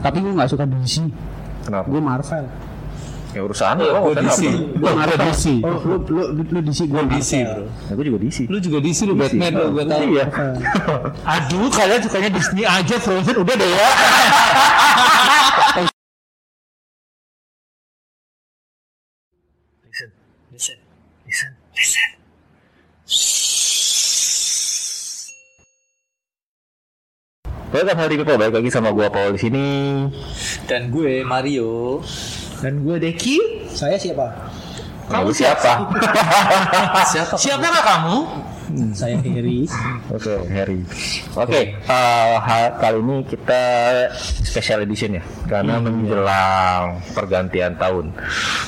tapi gue nggak suka DC Kenapa? gue Marvel Ya urusan lo, Gue urusan DC. apa? gue Marvel DC Oh, lu lu lu, lu DC gue DC bro. Ya, gue juga DC. Lu juga DC lu Batman lu gue tahu. Iya. aduh kalian sukanya Disney aja Frozen udah deh ya Welcome kan hari Koko, balik lagi sama gua Paul di sini. Dan gue Mario. dan gue Deki Saya siapa? Kamu siapa? Siapa? Ah, Hmm. siapa nggak kamu Saya Heri. Oke, Harry. Oke, eh, ha- kali ini kita special edition ya, karena menjelang pergantian tahun.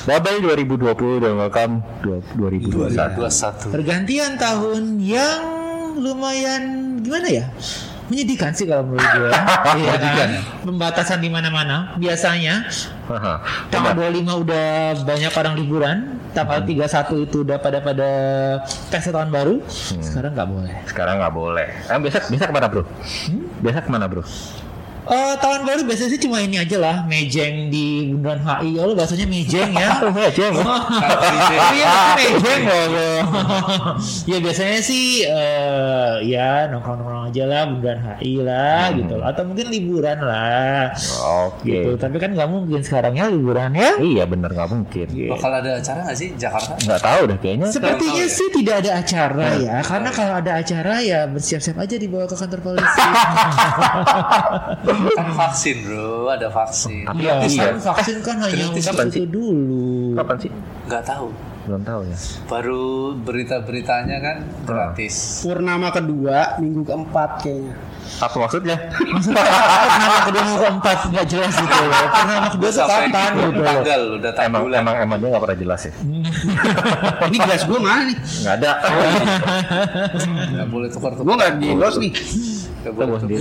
Bye bye 2020 dan welcome du- 2021. 21. pergantian tahun yang lumayan gimana ya menyedihkan sih kalau menurut gue Iya kan? ya? pembatasan di mana-mana biasanya Haha, tanggal 25 udah banyak orang liburan tanggal 31 itu udah pada pada pesta tahun baru sekarang nggak boleh Sekarang nggak boleh. Eh, biasa biasa kemana bro? Biasa kemana bro? Eh, tahun baru biasanya sih cuma ini aja lah mejeng di bundaran HI kalau bahasanya mejeng ya Oh, ya, Ceng. Iya, mejeng loh, lo. ya biasanya sih eh, ya nongkrong-nongkrong aja lah, bundaran HI lah gitu loh. Atau mungkin liburan lah. Gitu. Oke. Tapi kan nggak mungkin sekarang ya liburan ya. Iya bener nggak mungkin. Bakal ada acara nggak sih di Jakarta? Nggak tahu deh kayaknya. Sepertinya tahu ya. sih tidak ada acara ya, karena kalau ada acara ya bersiap-siap aja dibawa ke kantor polisi. Kan vaksin bro, ada vaksin. Iya, Iya. kan vaksin kan hanya gratis untuk kapan itu sih? dulu. Kapan sih? Nggak tahu. Belum tahu ya. Baru berita-beritanya kan gratis. Purnama kedua, minggu keempat kayaknya. Apa maksudnya? Pernah kedua mau keempat nggak jelas gitu loh. Pernah anak kedua tuh Sampai kapan gitu loh. tanggal udah tanggal emang emang emang dia nggak pernah jelas ya. Ini gelas gue mana nih? Nggak ada. nggak boleh tukar Gue tukar nggak di los nih. nggak Kita boleh bawa sendiri.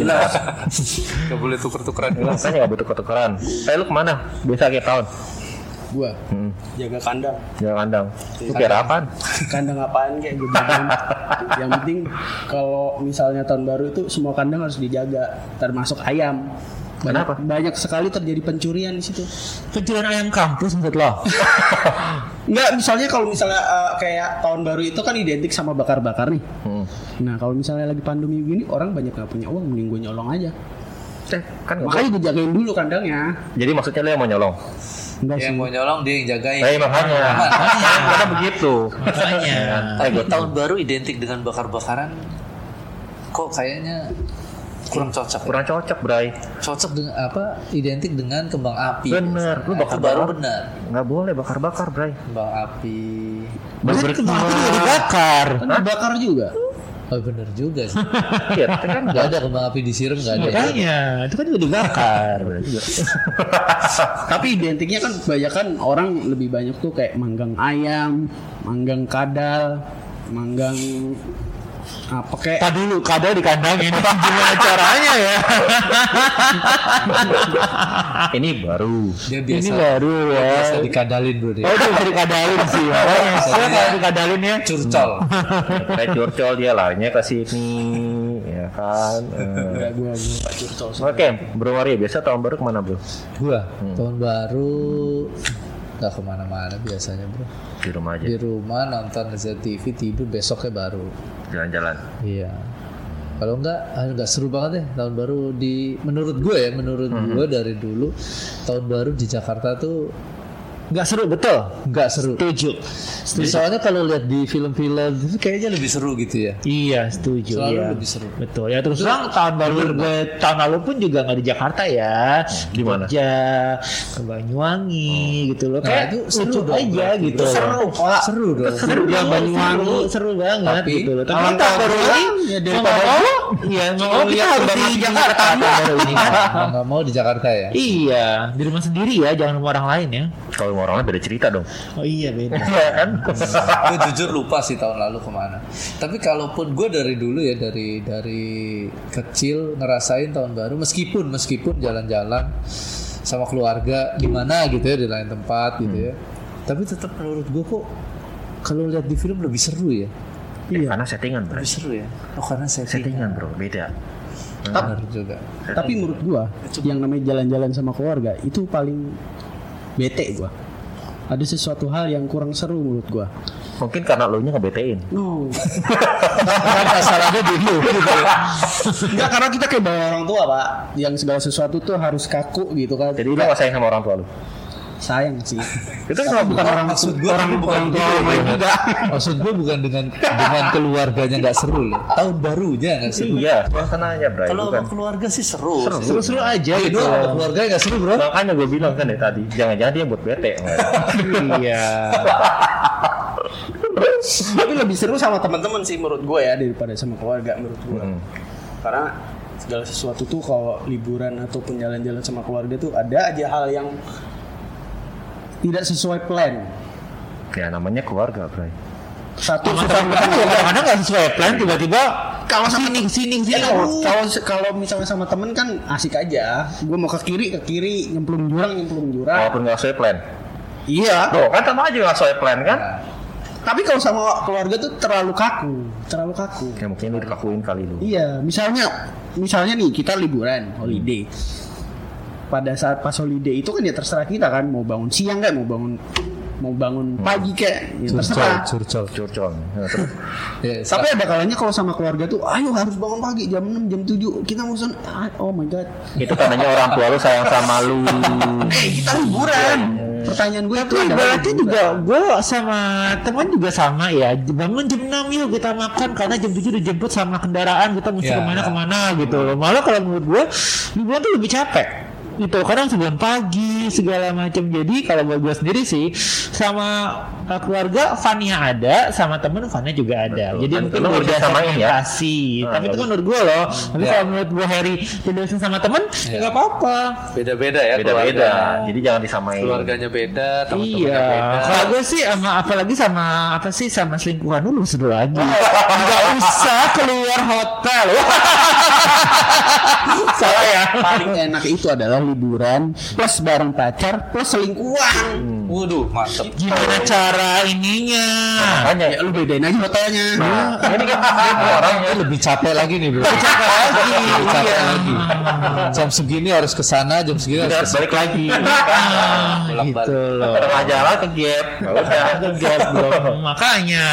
nggak boleh tukar tukaran Gelas kan nggak butuh ketukaran. Eh lu kemana? Biasa akhir tahun. Gue Hmm, jaga kandang. jalan kandang. Lu kira apaan? Kandang apaan kayak gue bilang. Yang penting kalau misalnya tahun baru itu semua kandang harus dijaga, termasuk ayam. Banyak, Kenapa? banyak sekali terjadi pencurian di situ. Pencurian ayam kampus menurut lo? Enggak, misalnya kalau misalnya eh, kayak tahun baru itu kan identik sama bakar-bakar nih. Hmm. Nah, kalau misalnya lagi pandemi gini orang banyak gak punya uang, mending gue nyolong aja. Eh, kan nggak Makanya gue jagain dulu kandangnya. Iya. boleh. Jadi maksudnya lu yang mau nyolong? Enggak yang sih. mau nyolong dia yang jagain Eh makanya. Karena begitu. Makanya. Eh tapi gue tahu tahun baru identik dengan bakar-bakaran kok kayaknya kurang cocok ya? kurang cocok Bray. cocok dengan apa identik dengan kembang api Bener, lu Nah, bakar itu baru bakar. benar Nggak boleh bakar-bakar Bray. kembang api Berarti Ber- kemarin juga dibakar. Kan dibakar juga. oh bener juga sih Iya, kan nggak ada kembang api disiram nggak ada ya. Makanya, itu kan juga dibakar. Tapi identiknya kan kebanyakan orang lebih banyak tuh kayak manggang ayam, manggang kadal, manggang apa kayak Tadi dulu kadal di kandang ini gimana caranya ya? Ini baru. dia ini biasa baru ya. biasa dikadalin bro Oh dia itu bisa dikadalin sih. Oh ya, saya kalau dikadalin ya. curcol Kayak curcol dia larinya ke sini, ya kan. Eh, enggak gua gua Pak Curcol. Oke, Bro Mario, biasa tahun baru kemana Bro? gua Hmm. tahun baru nggak kemana-mana biasanya bro Di rumah aja, di rumah nonton ZTV tidur besoknya baru jalan-jalan. Iya. Kalau enggak, ah, enggak seru banget ya tahun baru di menurut gue ya, menurut Hmm. gue dari dulu tahun baru di Jakarta tuh Nggak seru betul. enggak seru. Setuju. Soalnya kalau lihat di film-film itu kayaknya lebih seru gitu ya. Iya, setuju. Selalu iya. lebih seru. Betul ya. Terus terang tahun baru gue- tahun lalu pun juga nggak di Jakarta ya. Di Gimana? Jogja, ke Banyuwangi gitu loh. Nah, Kayak itu seru lucu dong, aja berarti. gitu. Seru, Pak. Seru dong. Seru ya Banyuwangi, seru banget Tapi, gitu loh. Tapi tahun tahun baru baru ini mau ya nggak daripada- mau, iya mau nggak mau kita harus di Jakarta. tahun baru ini. Mau nggak mau di Jakarta ya. Iya, di rumah sendiri ya, jangan sama orang lain ya. Kalau mau orangnya beda cerita dong. Oh iya beda. Iya kan? gue jujur lupa sih tahun lalu kemana. Tapi kalaupun gue dari dulu ya dari dari kecil ngerasain tahun baru meskipun meskipun jalan-jalan sama keluarga di mana gitu ya di lain tempat gitu ya. Tapi tetap menurut gue kok kalau lihat di film lebih seru ya. Iya. Karena settingan Bro. Lebih seru ya. Oh karena saya Settingan Bro, beda. benar juga. Tapi menurut gua yang namanya jalan-jalan sama keluarga itu paling bete gua. Ada sesuatu hal yang kurang seru menurut gua. Mungkin karena lo nya ngebetein. No. Karena salahnya di lu. gitu. Enggak karena kita kayak bawa orang tua, Pak. Yang segala sesuatu tuh harus kaku gitu kan. Jadi lo gak sayang sama orang tua lu. sayang sih. Itu kenapa bukan orang Maksud gue orang, bukan gitu. juga. Maksud gue bukan dengan dengan keluarganya nggak seru loh. Tahun barunya nggak seru. Iya, cuma aja Bray. Kalau bukan. sama keluarga sih seru. sih. Seru-seru aja gitu. Ada keluarga nggak seru bro. Makanya gue bilang kan ya tadi, jangan-jangan dia buat bete. Iya. Tapi lebih seru sama teman-teman sih menurut gue ya daripada sama keluarga menurut gue. Hmm. Karena segala sesuatu tuh kalau liburan ataupun jalan-jalan sama keluarga tuh ada aja hal yang tidak sesuai plan. ya namanya keluarga Bray. Satu Kadang-kadang nggak sesuai plan tiba-tiba kalau sini sini sini. Ya, kalau- aduh. kalau kalau misalnya sama temen kan asik aja. Gue mau ke kiri ke kiri nyemplung jurang nyemplung Oh. jurang. Walaupun gak sesuai plan. Iya. Tuh, kan sama aja gak sesuai plan kan? Tapi kalau sama keluarga tuh terlalu kaku, terlalu kaku. Ya mungkin lu dikakuin kali lu. Iya, misalnya misalnya nih kita liburan, Hmm. holiday. Pada saat pas holiday itu kan ya terserah kita kan mau bangun siang nggak, mau bangun mau Hmm. bangun pagi kayak ya terserah. curcol. Curcol. Ya, terus. Ya, Tapi ada kalanya kalau sama keluarga tuh, ayo harus bangun pagi jam 6, jam 7. Kita mau sun- ah, oh my god. itu tandanya orang tua lu sayang sama lu. Eh, kita liburan. Pertanyaan gue itu Iya, Tapi adalah ibaratnya liburan. juga gue sama teman juga sama ya bangun jam 6 yuk kita makan karena jam 7 udah jemput sama kendaraan kita mesti Iya, Ya, kemana ya. kemana gitu loh malah kalau menurut gue liburan tuh lebih capek gitu kadang sembilan pagi segala macam jadi kalau buat gue sendiri sih sama uh, keluarga funnya ada sama temen funnya juga ada Betul. jadi Dan mungkin lu harus beda disamain ya. segmentasi. Ah, Iya. tapi itu bagus. kan menurut gue loh tapi Ya. kalau menurut gue Harry tidak sama temen Iya. Ya. nggak apa-apa Beda-beda ya Beda-beda. keluarga. Iya. Jadi jangan disamain. Keluarganya beda, teman-temannya Iya, beda. kalau gue sih sama apalagi sama apa sih sama selingkuhan dulu seru lagi. Enggak usah keluar hotel. Salah ya. paling enak itu adalah liburan plus bareng pacar plus selingkuhan. Hmm. Waduh, mantep. Gimana cara ininya? Makanya Ya lu bedain aja hotelnya. Nah. ini kan orang Ini lebih capek lagi nih bro. Lebih capek Iya. lagi. Jam segini harus ke sana, jam segini harus harus ke balik lagi. Ah, gitu loh. Tengah jalan ke gap. Nggak usah. Makanya.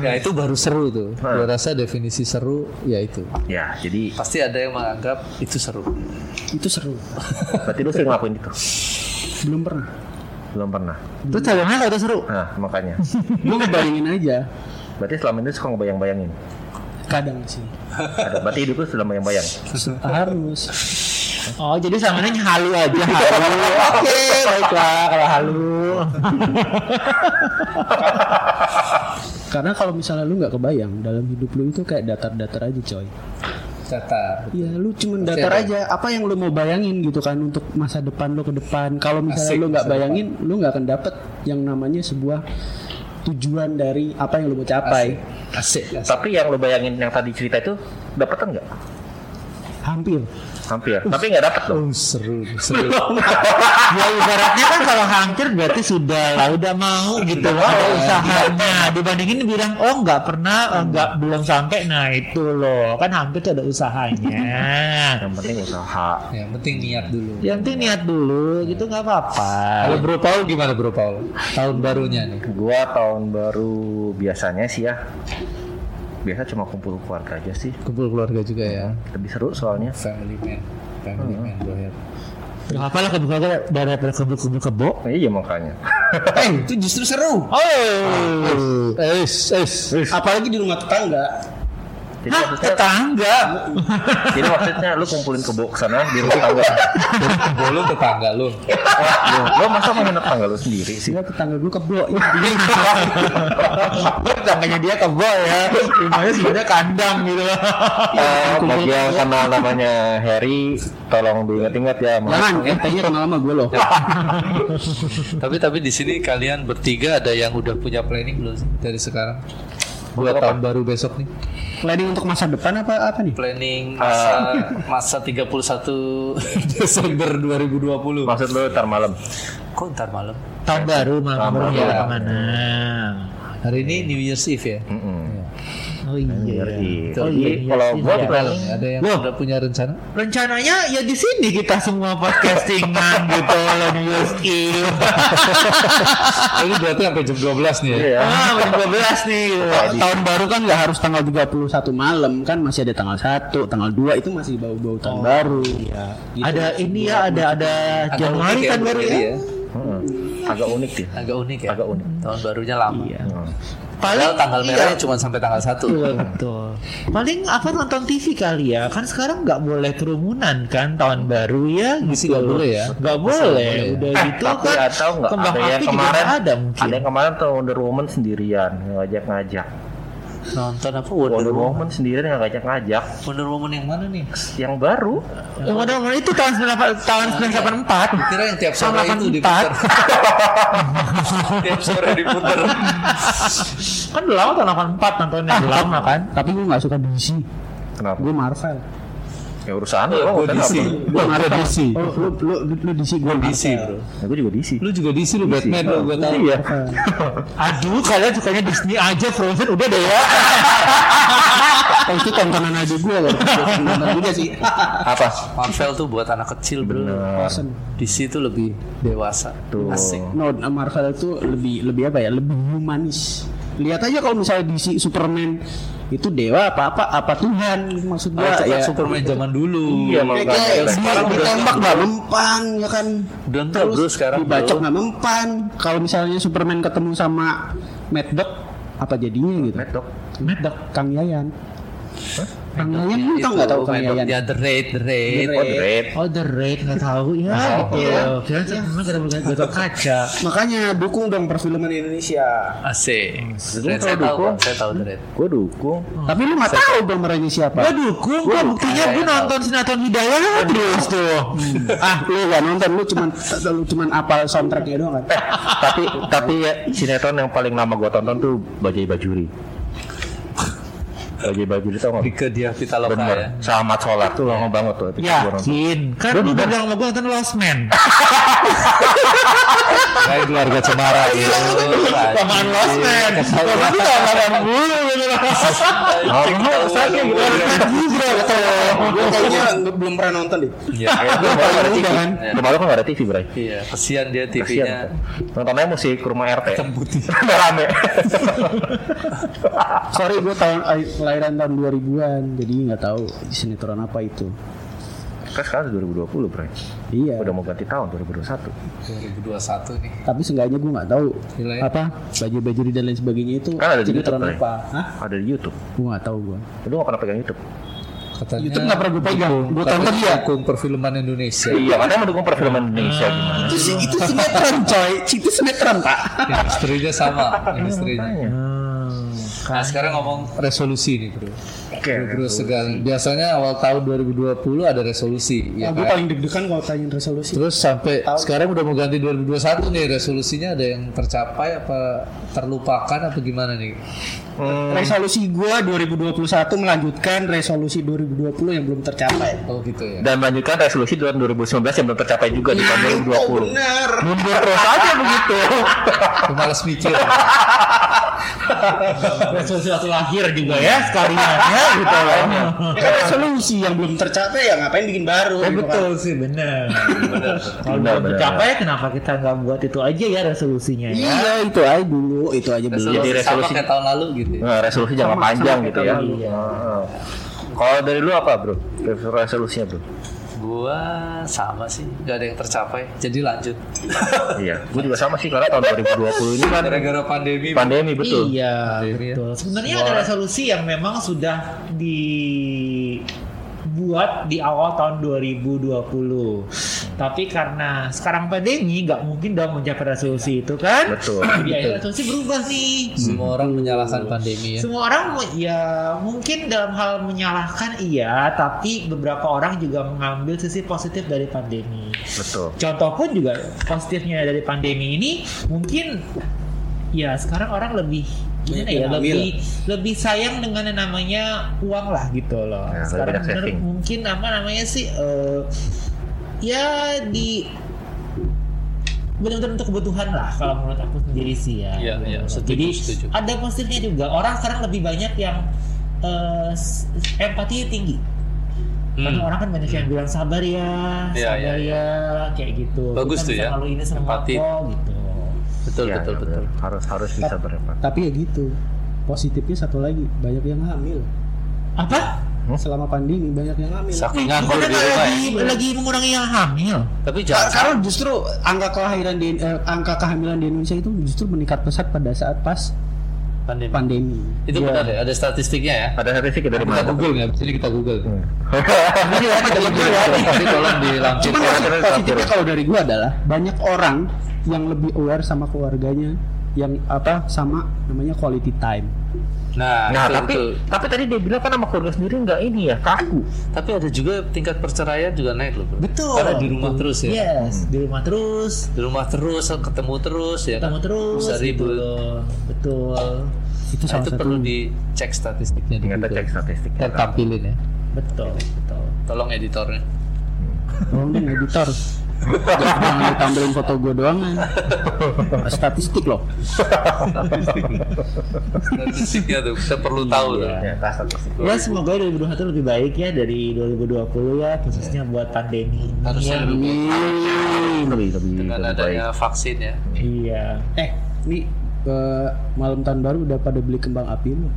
Ya itu baru seru tuh. Gua rasa definisi seru ya itu. Ya, jadi Pasti ada yang menganggap itu seru. Itu seru. berarti lu sering ngelakuin itu. Belum pernah. Belum pernah. Terus cabangnya kalau itu seru. Nah, makanya. Gue ngebayangin aja Berarti selama ini suka ngebayang-bayangin. kadang sih. Ada berarti hidup lu sudah bayang-bayang. Harus. Oh, jadi sama ini halu aja, halu. Oke, baiklah kalau halu. Karena kalau misalnya lu nggak kebayang dalam hidup lu itu kayak datar-datar aja coy. Kata Iya lu cuman datar Oke. aja. Apa yang lu mau bayangin gitu kan untuk masa depan lu ke depan. Kalau misalnya Asik, lu nggak masa bayangin, lu nggak akan dapet yang namanya sebuah tujuan dari apa yang lu mau capai. asik. asik. Tapi yang lu bayangin yang tadi cerita itu dapetan nggak? Hampir. Hampir. Tapi nggak dapet loh. Oh, seru, seru. Ya ibaratnya kan kalau hampir berarti sudah lah udah mau gitu loh usahanya dibandingin bilang oh nggak pernah eh, nggak belum sampai nah itu loh kan hampir tuh ada usahanya Yang penting usaha. Ya, Yang penting niat dulu. yang penting Ya, niat dulu gitu nggak apa-apa Kalau Bro Paul gimana Bro Paul? Tahun barunya nih. Gua tahun baru biasanya sih ya. Biasa cuma kumpul keluarga aja sih. Kumpul keluarga juga ya. Hmm. Lebih seru soalnya. Family man, family man Bro ya. Her. nggak apa-apa lah kebuka daripada kumpul-kumpul kebo Nah, iya makanya. Eh itu justru seru. oh Eh, es. Apalagi di rumah tetangga. Jadi Hah, maksudnya, tetangga jadi maksudnya lu kumpulin kebo ke sana di rumah tangga. Belum tetangga lu. Wah, lu, lu masa mau nginep tangga lu sendiri sih? Sehingga tetangga ya. gue kebo. tetangganya dia kebo ya rumahnya sebenarnya kandang gitu loh Eh, bagi yang kenal namanya Harry, tolong diingat-ingat ya. Mas. Jangan, katanya kenal sama gue loh. tapi tapi di sini kalian bertiga ada yang udah punya planning belum sih dari sekarang? Gua Apa? tahun baru besok nih. Ah. Planning untuk masa depan apa apa nih? Planning masa masa 31 Desember 2020. Maksud lu ntar malam? kok ntar malam? tahun baru malam Tahun baru baru. kemana Hmm. Hari ini New Year's Eve ya. Mm-mm. Oh iya. Ngeri. Oh Jadi iya. iya, kalau iya, gua iya. planning Ada yang Loh. udah punya rencana? rencananya ya di sini kita semua podcastingan gitu loh di USI. Ini berarti sampai jam 12 nih ya. Iya. Ah, jam 12 nih gitu. tahun baru kan nggak harus tanggal 31 malam kan masih ada tanggal 1, tanggal 2 itu masih bau-bau tahun Oh, baru. Iya. Ada ini ya, ada ada Januari unik ya, kan baru mungkin ya. ya. Heeh. Agak unik dia. Agak unik ya. Agak unik. Tahun barunya lama. Iya. Heeh. Padahal tanggal iya, merahnya cuma sampai tanggal 1. Betul, betul. Paling apa nonton TV kali ya? Kan sekarang nggak boleh kerumunan kan tahun baru ya gitu. Masih nggak boleh ya? Nggak boleh. Udah gitu Eh, Tapi kan. atau nggak kembang ada yang api juga kemarin nggak ada mungkin. Ada yang kemarin tuh Wonder Woman sendirian ngajak-ngajak. Nonton apa Wonder, Wonder Woman? Woman sendirian nggak ngajak-ngajak. Wonder Woman yang mana nih? Yang baru Yang ada kemarin itu tahun 98 tahun 1984. Kira yang tiap sore Sama itu 84. diputar. tiap sore diputar. Kan udah lama tahun 84 nontonnya udah lama kan. Tapi gue nggak suka DC. kenapa? Gue Marvel. Ya urusan lo, Iya, Gua urusan DC. apa? Gue Marvel DC. Oh, Lu lu lu, lu DC gue DC bro. Ya, gue juga DC. Lu juga DC lu Batman lu gue tahu. Iya. Aduh, kalian sukanya Disney aja Frozen udah deh ya. Marvel. itu tontonan aja gue loh. Bener juga sih. Apa? Marvel tuh buat anak kecil bro. Bener. DC tuh lebih dewasa. Tuh. Asik. No, nah, Marvel itu lebih lebih apa ya? Lebih humanis. Lihat aja kalau misalnya DC Superman itu dewa apa apa apa Tuhan maksud Nah, gue itu kan ya. Superman zaman dulu. Iya, mau nggak Kayak ada. sekarang ditembak nggak mempan ya kan Udah enggak bro sekarang bro. dibacok nggak mempan kalau misalnya Superman ketemu sama Mad Dog apa jadinya gitu Mad Dog. Mad Dog Kang Yayan Kang Yayan lu Itu tau nggak tau Kang main Yayan Ya The Raid, The Raid. Oh, The Raid. Oh, The Raid nggak tahu ya. Iya, kira cuma kata gatot kaca. makanya dukung dong perfilman Indonesia Asik. The Raid, Gua saya tahu, dukung. Bang. saya tahu The Raid. Gue dukung. tapi lu nggak tahu dong mereka siapa Gue dukung, gue buktinya gue nonton Hmm. sinetron Hidayah kan terus tuh. ah lu nggak nonton lu cuman lu cuman apal soundtracknya doang kan tapi tapi ya, sinetron yang paling lama gua tonton tuh Bajai Bajuri. Bajai Bajuri tau nggak? Dike dia Pitaloka Bener. ya. Selamat sholat tuh lama banget tuh. episode gua nonton. Yakin, kan lu udah bilang sama gue nonton Lost Man. Kayak keluarga cemara gitu. Apaan Lost Man? Lost Man tuh tahun 80 gitu loh. Oh, emang kesannya gitu. juga kata gue kayaknya belum pernah nonton deh Iya. Ya, gua baru ada TV. Jangan. Gua baru kan nggak ada TV, Bray. Iya, kesian dia Kasian. TV-nya. Nontonnya musik rumah RT. Putih. Rame-rame. sorry gue tahun eh, kelahiran tahun 2000-an jadi nggak tahu sinetron apa itu Kan sekarang 2020, Bray. iya Udah mau ganti tahun 2021. 2021 nih. tapi seenggaknya gue nggak tahu Nilai. apa baju-baju dan lain sebagainya itu Kan ada di sinetron YouTube, apa Hah? Ada di YouTube. gue nggak tahu gue Lu nggak pernah pegang YouTube. Katanya YouTube nggak pernah gue pegang gue tonton katanya ya dukung perfilman Indonesia. Iya, katanya mendukung perfilman Indonesia gimana? itu sih itu sinetron coy itu sinetron pak Industrinya sama, industrinya. Makanya. Nah, sekarang ngomong resolusi nih, Bro. Oke. Bro, sekarang biasanya awal tahun 2020 ada resolusi, ya gue kan? paling deg-degan kalau tanyain resolusi Terus sampai sekarang udah mau ganti 2021 nih, resolusinya ada yang tercapai apa terlupakan apa gimana nih? Resolusi gue 2021 melanjutkan resolusi 2020 yang belum tercapai. Oh gitu ya. dan melanjutkan resolusi tahun 2019 yang belum tercapai juga di tahun 2020. Bener. Mundur terus aja begitu. Aku malas mikir. Sesuatu lahir juga ya sekalian ya gitu loh. Kan resolusi yang belum tercapai ya ngapain bikin baru? Ya, gitu kan. betul sih bener. Kalau Bener, belum bener. tercapai kenapa kita nggak buat itu aja ya resolusinya ya? Iya itu aja dulu, itu aja belum. Jadi Resolusi sama resolusi- kayak tahun lalu gitu. ya. Nah, resolusi jangka panjang gitu ya. lalu. Heeh. Kalau dari lu apa, Bro? Resolusinya, Bro? Gua sama sih, nggak ada yang tercapai. Jadi lanjut. iya, gue juga sama sih karena tahun 2020 ini kan Gara-gara pandemi. pandemi betul. Iya, Akhirnya. betul. Sebenarnya ada resolusi yang memang sudah dibuat di awal tahun 2020. Tapi karena sekarang pandemi nggak mungkin dong mencapai resolusi itu kan? Betul. Jadi akhirnya resolusi berubah nih. Semua orang menyalahkan pandemi ya. Semua orang mu- ya mungkin dalam hal menyalahkan iya, tapi beberapa orang juga mengambil sisi positif dari pandemi. Betul. Contoh pun juga positifnya dari pandemi ini mungkin ya sekarang orang lebih gimana ya Banyak yang ambil. lebih lebih sayang dengan yang namanya uang lah gitu loh. Nah, Ya, lebih sekarang banyak bener saving. mungkin apa namanya sih eh, ya di benar-benar untuk kebutuhan lah kalau menurut aku sendiri sih ya. Iya, iya, Benar-benar. setuju, Jadi setuju. ada positifnya juga. Orang sekarang lebih banyak yang eh, s- empatinya tinggi. Karena orang kan banyak yang bilang sabar ya, Hmm. Iya, sabar iya, ya, kayak gitu. Bagus Kita tuh bisa ya, Kalau ini semua empati. kok, gitu. betul Ya, betul ya, betul bener. harus harus bisa berempat Tapi ya gitu. Positifnya satu lagi, banyak yang hamil. Apa? Selama pandemi banyak yang hamil. saking nganggur Bukan Nah, di lagi, rumah ya. lagi mengurangi yang hamil. tapi Kar- jangan Karena justru angka kelahiran di eh, angka kehamilan di Indonesia itu justru meningkat pesat pada saat pas pandemi pandemi. itu benar ya ada statistiknya ya ada statistik dari kita mana google nggak jadi kita google Hmm. tapi tolong dilampir Cuman Iya, maksud karena positifnya sabar. kalau dari gua adalah banyak orang yang lebih aware sama keluarganya yang apa sama namanya quality time. nah, nah itu- tapi itu. tapi tadi dia bilang kan sama keluarga sendiri nggak ini ya kaku tapi ada juga tingkat perceraian juga naik loh bro. Betul. Iya. karena di rumah terus ya Yes, di rumah terus, di rumah terus ketemu terus ya kan? ketemu terus. Bisa gitu ribut. loh. Betul, Itu Nah, salah itu satu perlu dicek statistiknya di ternyata Google. cek statistik Ntar tampilin ya betul, betul. tolong editornya Tolong dong editor. Jangan ditampilin foto gua doang. Statistik loh. statistiknya tuh kita perlu tahu tuh ternyata statistik Ya semoga 2021 lebih baik ya dari 2020 ya khususnya buat pandemi ini. Iya. harusnya ya. lebih baik lebih lebih dengan lebih baik adanya vaksin ya Iya. Eh, nih eh, malam tahun baru udah pada beli kembang api lu.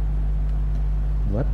Buat?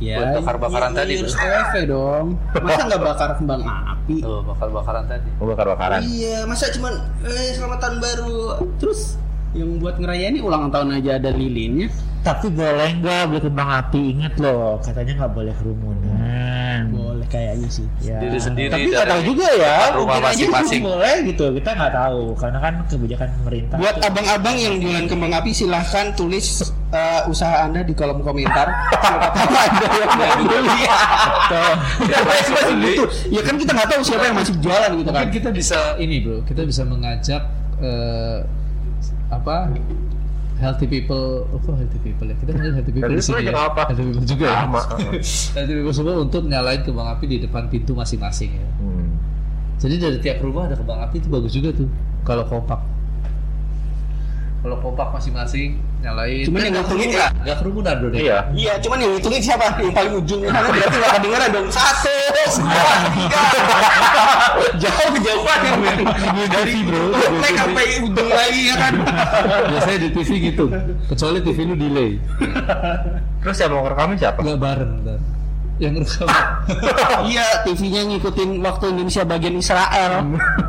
Iya. buat Ya, bakar-bakaran tadi harus bro OFW dong. Masa nggak bakar kembang api? tuh bakar-bakaran tadi Oh, bakar-bakaran Iya, masa cuman eh, selamat tahun baru. Terus yang buat ngerayain nih ulang tahun aja ada lilinnya. Tapi boleh nggak beli kembang api? Ingat loh, katanya nggak boleh kerumunan. Boleh kayaknya sih. Ya. Sendiri sendiri Tapi nggak dari tahu juga ya. tempat rumah kan Mungkin aja masing-masing. boleh gitu. Kita nggak tahu karena kan kebijakan pemerintah. Buat abang-abang yang jualan kembang api silahkan tulis eh, usaha anda di kolom komentar. Siapa tahu ada yang mau beli. Siapa yang masih butuh? Ya kan kita nggak tahu siapa yang masih jualan gitu kan. mungkin kita bisa ini bro kita bisa mengajak eh, apa healthy people apa healthy people ya kita ngajak healthy people Healthy di sini people ya. ajak apa? healthy people juga ya Sama. healthy people semua untuk nyalain kembang api di depan pintu masing-masing ya Hmm. jadi dari tiap rumah ada kembang api itu bagus juga tuh kalau kompak kalau kompak masing-masing nyalain Cuman Dan yang nggak ngitungin kerumunan nggak kerumunan bro deh iya Iya, cuman yang hitungin siapa? Yang paling ujung karena berarti nggak kedengeran dong. Satu, dua, tiga. Jauh jauh banget dari bro. Naik sampai ujung lagi ya kan. biasanya di TV gitu kecuali TV lu delay terus yang mau ngerekamnya siapa nggak bareng ntar yang rekam Iya, TV-nya ngikutin waktu Indonesia bagian Israel.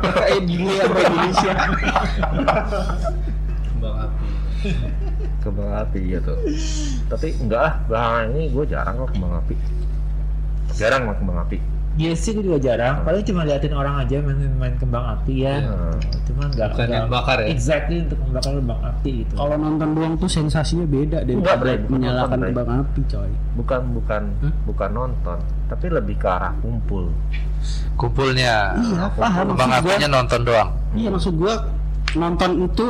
Kayak gini ya bro, Indonesia. kembang api kembang api gitu tapi enggak lah belakangan ini gue jarang kok kembang api jarang mah kembang api Iya sih, gue juga jarang. Paling cuma liatin orang aja main-main kembang api ya. Hmm. Cuma nggak Iya. Bukan yang nggak- bakar ya? Exactly untuk membakar kembang api gitu. Kalau nonton doang tuh sensasinya beda daripada Enggak, Bre. Oh, menyalakan Nonton, Bre. ya? kembang api, coy. bukan bukan bukan nonton tapi lebih ke arah kumpul kumpulnya Iya, paham Bang maksud gua. apinya nonton doang Iya, maksud gua nonton itu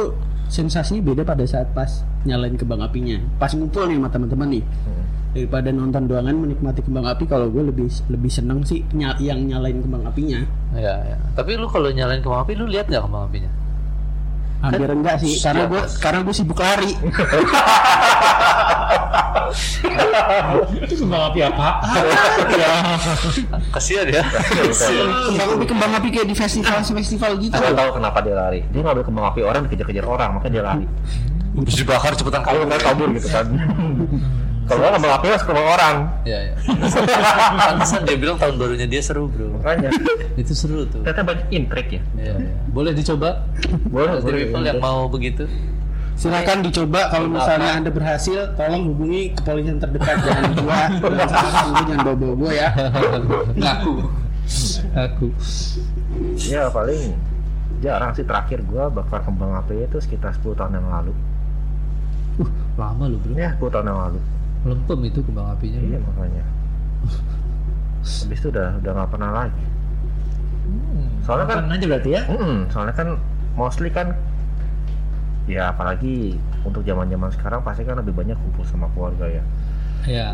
sensasinya beda pada saat pas nyalain kembang apinya. Pas ngumpul nih sama teman-teman nih. Hmm. Daripada nonton doangan menikmati kembang api kalau gue lebih lebih seneng sih nya- yang nyalain kembang apinya. ya, ya. tapi lu kalau nyalain kembang api lu lihat nggak kembang apinya Kan Hampir enggak sih karena gue karena gue sibuk lari. itu kembang api apa? kasihan ya kembang api kembang api kayak di festival-festival gitu. gue tahu kenapa dia lari dia ngambil kembang api orang dikejar-kejar orang makanya dia lari Habis dibakar cepetan kalau nggak kabur gitu kan kalau nggak kembang api harus kembang orang ya ya pantesan dia bilang tahun barunya dia seru bro makanya itu seru tuh ternyata banyak intrik ya ya, ya. boleh dicoba boleh Healthy people yang mau begitu Silakan dicoba kalau misalnya Anda berhasil tolong hubungi kepolisian terdekat jangan gua jangan salahkan gua jangan bawa-bawa gua ya. ngaku aku ya paling jarang sih terakhir gue bakar kembang api itu sekitar 10 tahun yang lalu lama lu bro ya 10 tahun yang lalu lempem itu kembang apinya Iya makanya. Habis itu udah udah nggak pernah lagi. Hmm, Soalnya kan, Makan aja berarti ya? Mm-mm, soalnya kan mostly kan, ya apalagi untuk zaman zaman sekarang pasti kan lebih banyak kumpul sama keluarga ya. ya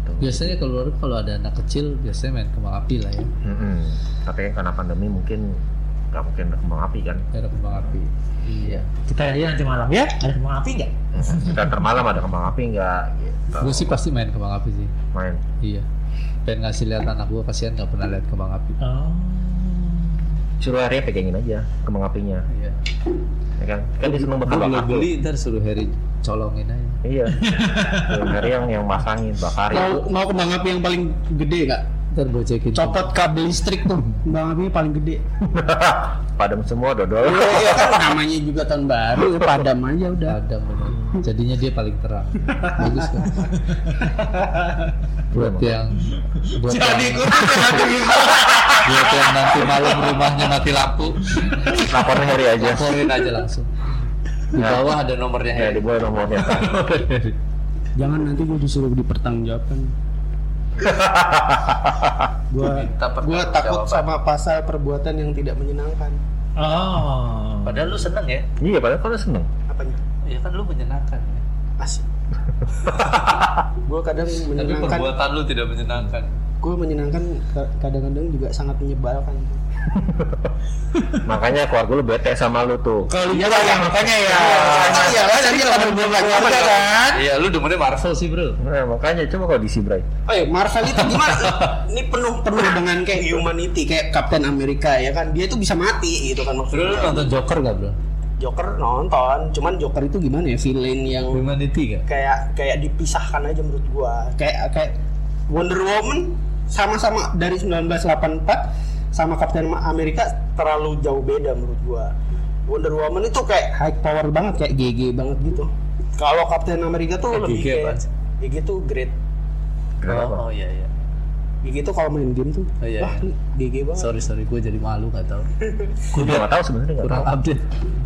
Gitu. biasanya kalau kalau ada anak kecil biasanya main kembang api lah ya Mm-mm. Tapi kan karena pandemi mungkin nggak mungkin ada kembang api kan Nggak ada kembang api. Iya. Kita aja nanti malam ya. Ada kembang api nggak? kita termalam ada kembang api nggak gitu Gue sih pasti main kembang api sih. main Iya. Pengen ngasih lihat anak gue kasihan nggak pernah lihat kembang api. Oh. suruh Arya pegangin aja kembang apinya Iya. ya kan kan dia seneng bakar Gue bakar beli ntar suruh Harry colongin aja. iya Suruh Arya yang yang masangin Mau, bakarin mau kembang api yang paling gede kak? Ntar bocekin. Copot kabel listrik tuh. Kembang api paling gede. padam semua dodol Namanya juga tahun baru, ya padam aja udah. Padam bener. Jadinya dia paling terang. Bagus kan. buat Ya. yang buat yang, gitu. buat yang nanti malam rumahnya mati lampu, laporin Harry Iya. aja laporin aja langsung. Di Ya. bawah ada nomornya ya Harry. di bawah nomornya Jangan nanti gue disuruh dipertanggungjawabkan. gua Minta gua pertanggungjawaban. takut sama pasal perbuatan yang tidak menyenangkan. Oh. Padahal lu seneng ya? iya padahal kalau seneng Apanya? Iya Ya kan lu menyenangkan. Ya. Asik. gue kadang Tapi menyenangkan, perbuatan lu tidak menyenangkan. gue menyenangkan ka- kadang-kadang juga sangat menyebalkan. makanya keluarga lu bete sama lu tuh iya, Kalau dia lah yang makanya ya. Iya, tadi kalau belum lagi kan? Iya, lu demennya Marvel sih, Bro. nah, makanya coba kalau diisi Bray Oh iya, Marvel itu gimana? Ini penuh penuh dengan kayak humanity kayak Captain America ya kan. Dia itu bisa mati gitu kan Bro, lu maksudnya. nonton Joker gak, Bro? Joker nonton, cuman Joker itu gimana ya villain yang Humanity gak? Oh, kayak kayak dipisahkan aja menurut gua. Kayak kayak Wonder Woman sama-sama dari 1984 sama Captain America terlalu jauh beda menurut gua. Wonder Woman itu kayak high power banget kayak GG banget gitu. Kalau Captain America Eh, tuh lebih GG kayak apaan? GG tuh great. oh, kenapa iya iya. GG tuh kalau main game tuh Oh, iya, wah iya. GG banget. Sorry sorry, gue jadi malu gak tau. gue juga nggak tahu sebenarnya nggak Kurang tahu update.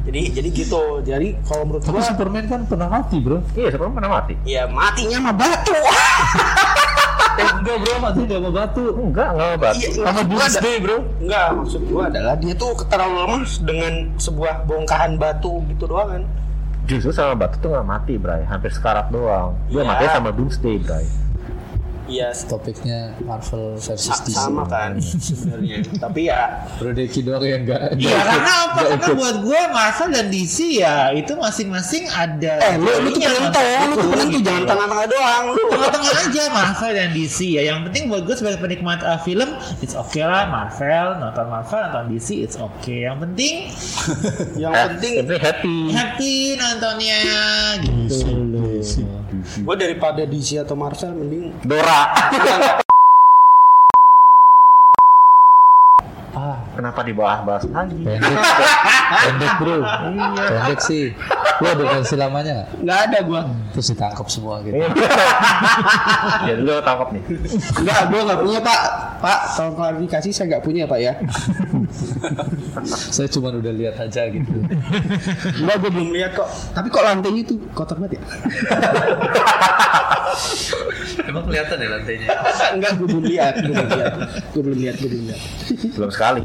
Jadi jadi gitu. Jadi kalau menurut Tapi gua Superman kan pernah mati bro. iya sebelum pernah mati ya matinya mah batu. Enggak bro, mati gak mau batu. enggak enggak obat Iya, maksud gua ada- bro. Enggak, maksud gua adalah dia tuh terlalu lemas dengan sebuah bongkahan batu gitu doang kan. justru sama batu tuh nggak mati Bray hampir sekarat doang dia Iya. mati sama Doomsday Bray Iya, s- Topiknya Marvel versus sa- DC. sama kan sebenarnya. Tapi ya Bro Deki doang yang enggak. Iya karena apa? Karena buat gue Marvel dan DC ya itu masing-masing ada. Iya, eh lu lu tuh penentu, ya, lu tuh penentu jangan tengah-tengah doang lu. tengah-tengah aja Marvel dan DC ya. Yang penting buat gue sebagai penikmat uh, film, it's okay lah Marvel, nonton Marvel, nonton DC, it's okay. Yang penting Yang Eh, penting tapi happy happy nontonnya gitu. gua daripada DC atau Marvel mending Dora ah kenapa dibahas-bahas lagi Ya. Pendek, pendek bro. Pendek sih. Lu ada versi lamanya nggak? nggak ada gua. Terus ditangkap semua gitu. jadi Iya, lu tangkap nih Enggak, gua nggak punya, Pak. Pak, tolong klarifikasi saya nggak punya, Pak ya. Saya cuma udah lihat aja gitu. Enggak, gua belum lihat kok. Tapi kok lantainya tuh kotor banget ya? Emang kelihatan ya lantainya. Enggak, gua belum lihat, gua belum lihat. Gua belum lihat, gua belum lihat. belum sekali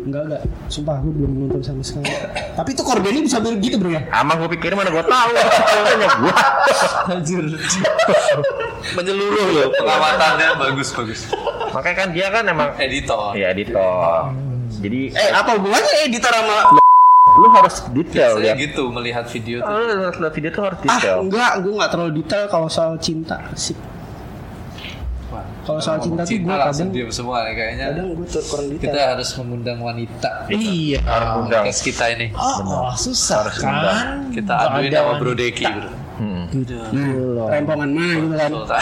Enggak, enggak. Sumpah gue belum nonton sama sekali. Tapi tuh korbannya bisa begitu bro ya? Amang gue pikir mana gue tahu. Tanya gue. Anjir. Menyeluruh loh. Pengawatannya bagus bagus. Makanya kan dia kan emang Editor. ya editor. Jadi Eh, apa hubungannya editor sama... lu harus detail Saya ya. gitu melihat video tuh. Lu harus lihat video tuh harus Ah, detail. enggak. Gue nggak terlalu detail kalau soal cinta. Sip. Wah, Kalau soal cinta tuh gua langsung kadang- diem semua nih kayaknya. Kadang gue tuh kurang Kita detail. harus mengundang wanita. Iya. Harus undang. Podcast kita ini. Oh, oh, susah Harus undang. kan? Kita Nggak aduin ada sama wanita. Bro Deki, Bro. Hmm. Gitu. Rempongan mah gitu kan. Sultan.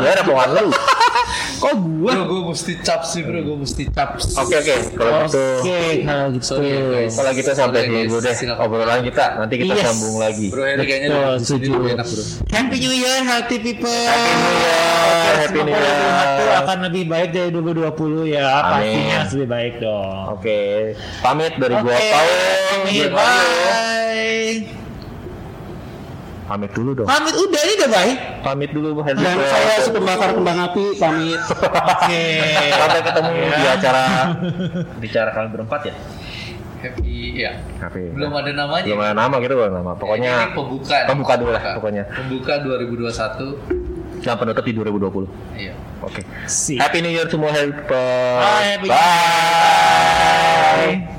Gue ada pohon lu. Kok gue? Bro, gue mesti cap sih, Bro. Gue mesti cap. Oke oke. Kalau gitu Oke, kalau gitu. Sorry, ya, guys. kalau gitu sampai Sorry, sini guys. dulu deh Silakan. obrolan kita. Nanti kita Yes. sambung lagi. Bro Harry kayaknya Betul, di sini setuju. lebih enak, Bro. Happy New Year, healthy people. New Year, Happy New Semoga Year. 2021 akan lebih baik dari 2020 ya. Pastinya Amin. harus lebih baik dong. Oke. Pamit dari Oke, gua Paul. Pamit, Gua Mario. bye. Pamit dulu dong. Pamit udah ini udah baik. Pamit dulu Bu Henry. Dan saya si pembakar kembang api pamit. Oke. Sampai ketemu di acara di acara kalian berempat ya. Happy, ya. Tapi Belum ada namanya. belum ada nama gitu belum ada nama. Pokoknya Ini pembuka. nih. pembuka dulu lah pokoknya. Pembuka 2021. Dan penutup di 2020. Iya. Oke. Sip. Happy New Year semua helper. Bye, happy- Bye. uh, Bye.